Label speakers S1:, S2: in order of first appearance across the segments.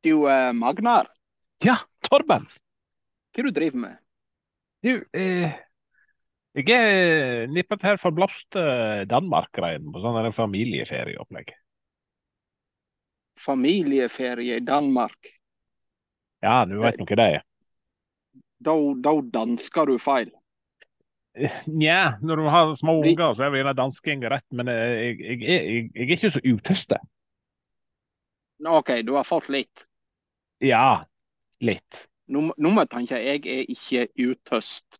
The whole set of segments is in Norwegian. S1: Du, eh, Magnar,
S2: Ja, Torben,
S1: hva du driver med?
S2: du, eh, jeg er nippet her for blomst eh, Danmark-greien på sånn der familieferieopplegg.
S1: Familieferie i Danmark.
S2: Ja, du
S1: Eh,
S2: vet nå hva det er.
S1: Da, da dansker du feil.
S2: Eh, Nja, når du har små
S1: Vi-
S2: unger, så er det gjerne dansking rett, men eh, jeg, jeg, er- jeg, jeg er ikke så utestet.
S1: OK, du har fått litt.
S2: Ja, litt.
S1: Num- Nummer tenker jeg jeg er ikke utøst.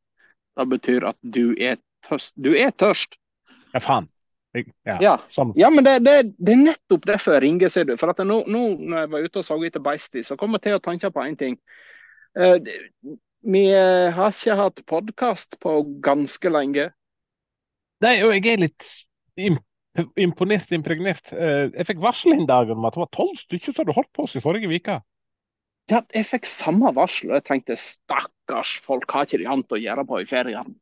S1: Det betyr at du er tørst. Du er tørst!
S2: Ja, faen. Jeg, ja,
S1: Ja.
S2: sånn.
S1: Ja, men det, det, det er nettopp derfor jeg ringer, ser du. For at nå, nå når jeg var ute og så etter Beisti, så kom jeg til å tenke på én ting. Eh, det- vi eh, har ikke hatt podkast på ganske lenge.
S2: Nei, og jeg er litt imp imponert, impregnert. Eh, jeg fikk varsel en dag om at det var tolv stykker som hadde holdt på oss i forrige uke.
S1: Ja, jeg fikk samme varsel, og jeg tenkte stakkars folk har ikke de annet å gjøre på i ferien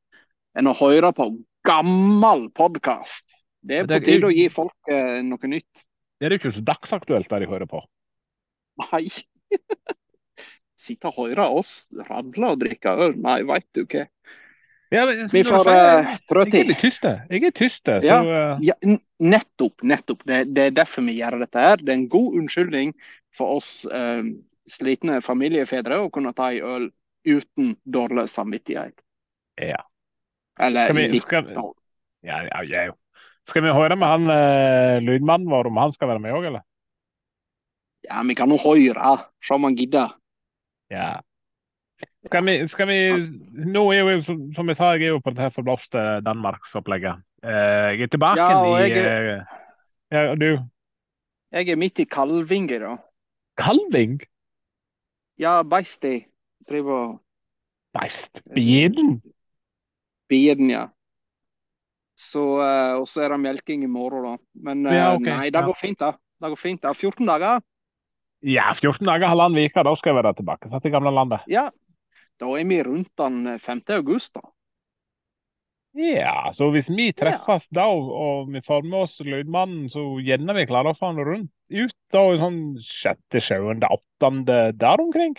S1: enn å høre på gammel podkast. Det er
S2: Men
S1: på
S2: det er-
S1: tide å gi folk eh, noe nytt.
S2: Det er jo ikke så dagsaktuelt der jeg hører på.
S1: Nei, sitte og høre oss radle og drikke øl, nei, veit du hva.
S2: Ja, men,
S1: Vi
S2: når du
S1: får
S2: sier-
S1: eh, trå
S2: Jeg er
S1: til.
S2: litt tyste. Jeg er tyste, så
S1: Ja.
S2: eh,
S1: Ja, n- nettopp, nettopp. Det, det er derfor vi gjør dette her. Det er en god unnskyldning for oss eh, slitne familiefedre å kunne ta en øl uten dårlig samvittighet.
S2: Ja.
S1: Eller
S2: skal vi
S1: litt.
S2: skal,
S1: dårlig.
S2: ja, ja, ja, jo. Skal vi høre med han eh, lydmannen vår om han skal være med òg, eller?
S1: Ja, vi kan nå høre, se om han gidder.
S2: Ja. Skal vi, skal vi Nå er jo jeg, som, som jeg sa, jeg er jo på dette forblåste Danmarksopplegget. Eh, jeg er tilbake
S1: Ja, og
S2: i
S1: jeg
S2: eh, ja, og Du,
S1: Jeg er midt i kalvinga, da.
S2: kalving?
S1: Ja, beistet driver og
S2: Beist, bjeden?
S1: bier den, ja. Så, eh, og så er det melking i morgen, da. Men eh,
S2: Ja, ok.
S1: nei, det
S2: Ja.
S1: går fint, da. Det går fint, da. 14 dager?
S2: Ja, 14 dager, halvannen uke, da skal jeg være tilbake. Satt i gamle landet.
S1: Ja. Da er vi rundt den 5. august, da.
S2: Ja, så hvis vi
S1: Ja.
S2: treffes da, og, og vi får med oss lydmannen, så gjerne vi klarer å få han rundt ut da, i sånn sjette, sjuende, åttende der omkring.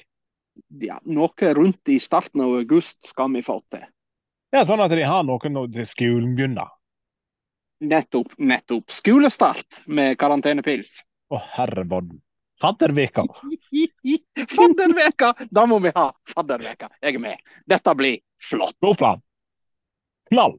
S1: Ja, noe rundt i starten av august skal vi få til.
S2: Ja, sånn at de har noen når skolen begynner.
S1: Nettopp, nettopp. Skolestart med karantenepils.
S2: Å, herrebodden. Fadderveka.
S1: Fadderveka! Da må vi ha fadderveka. Jeg er med. Dette blir flott.
S2: God plan. Knall.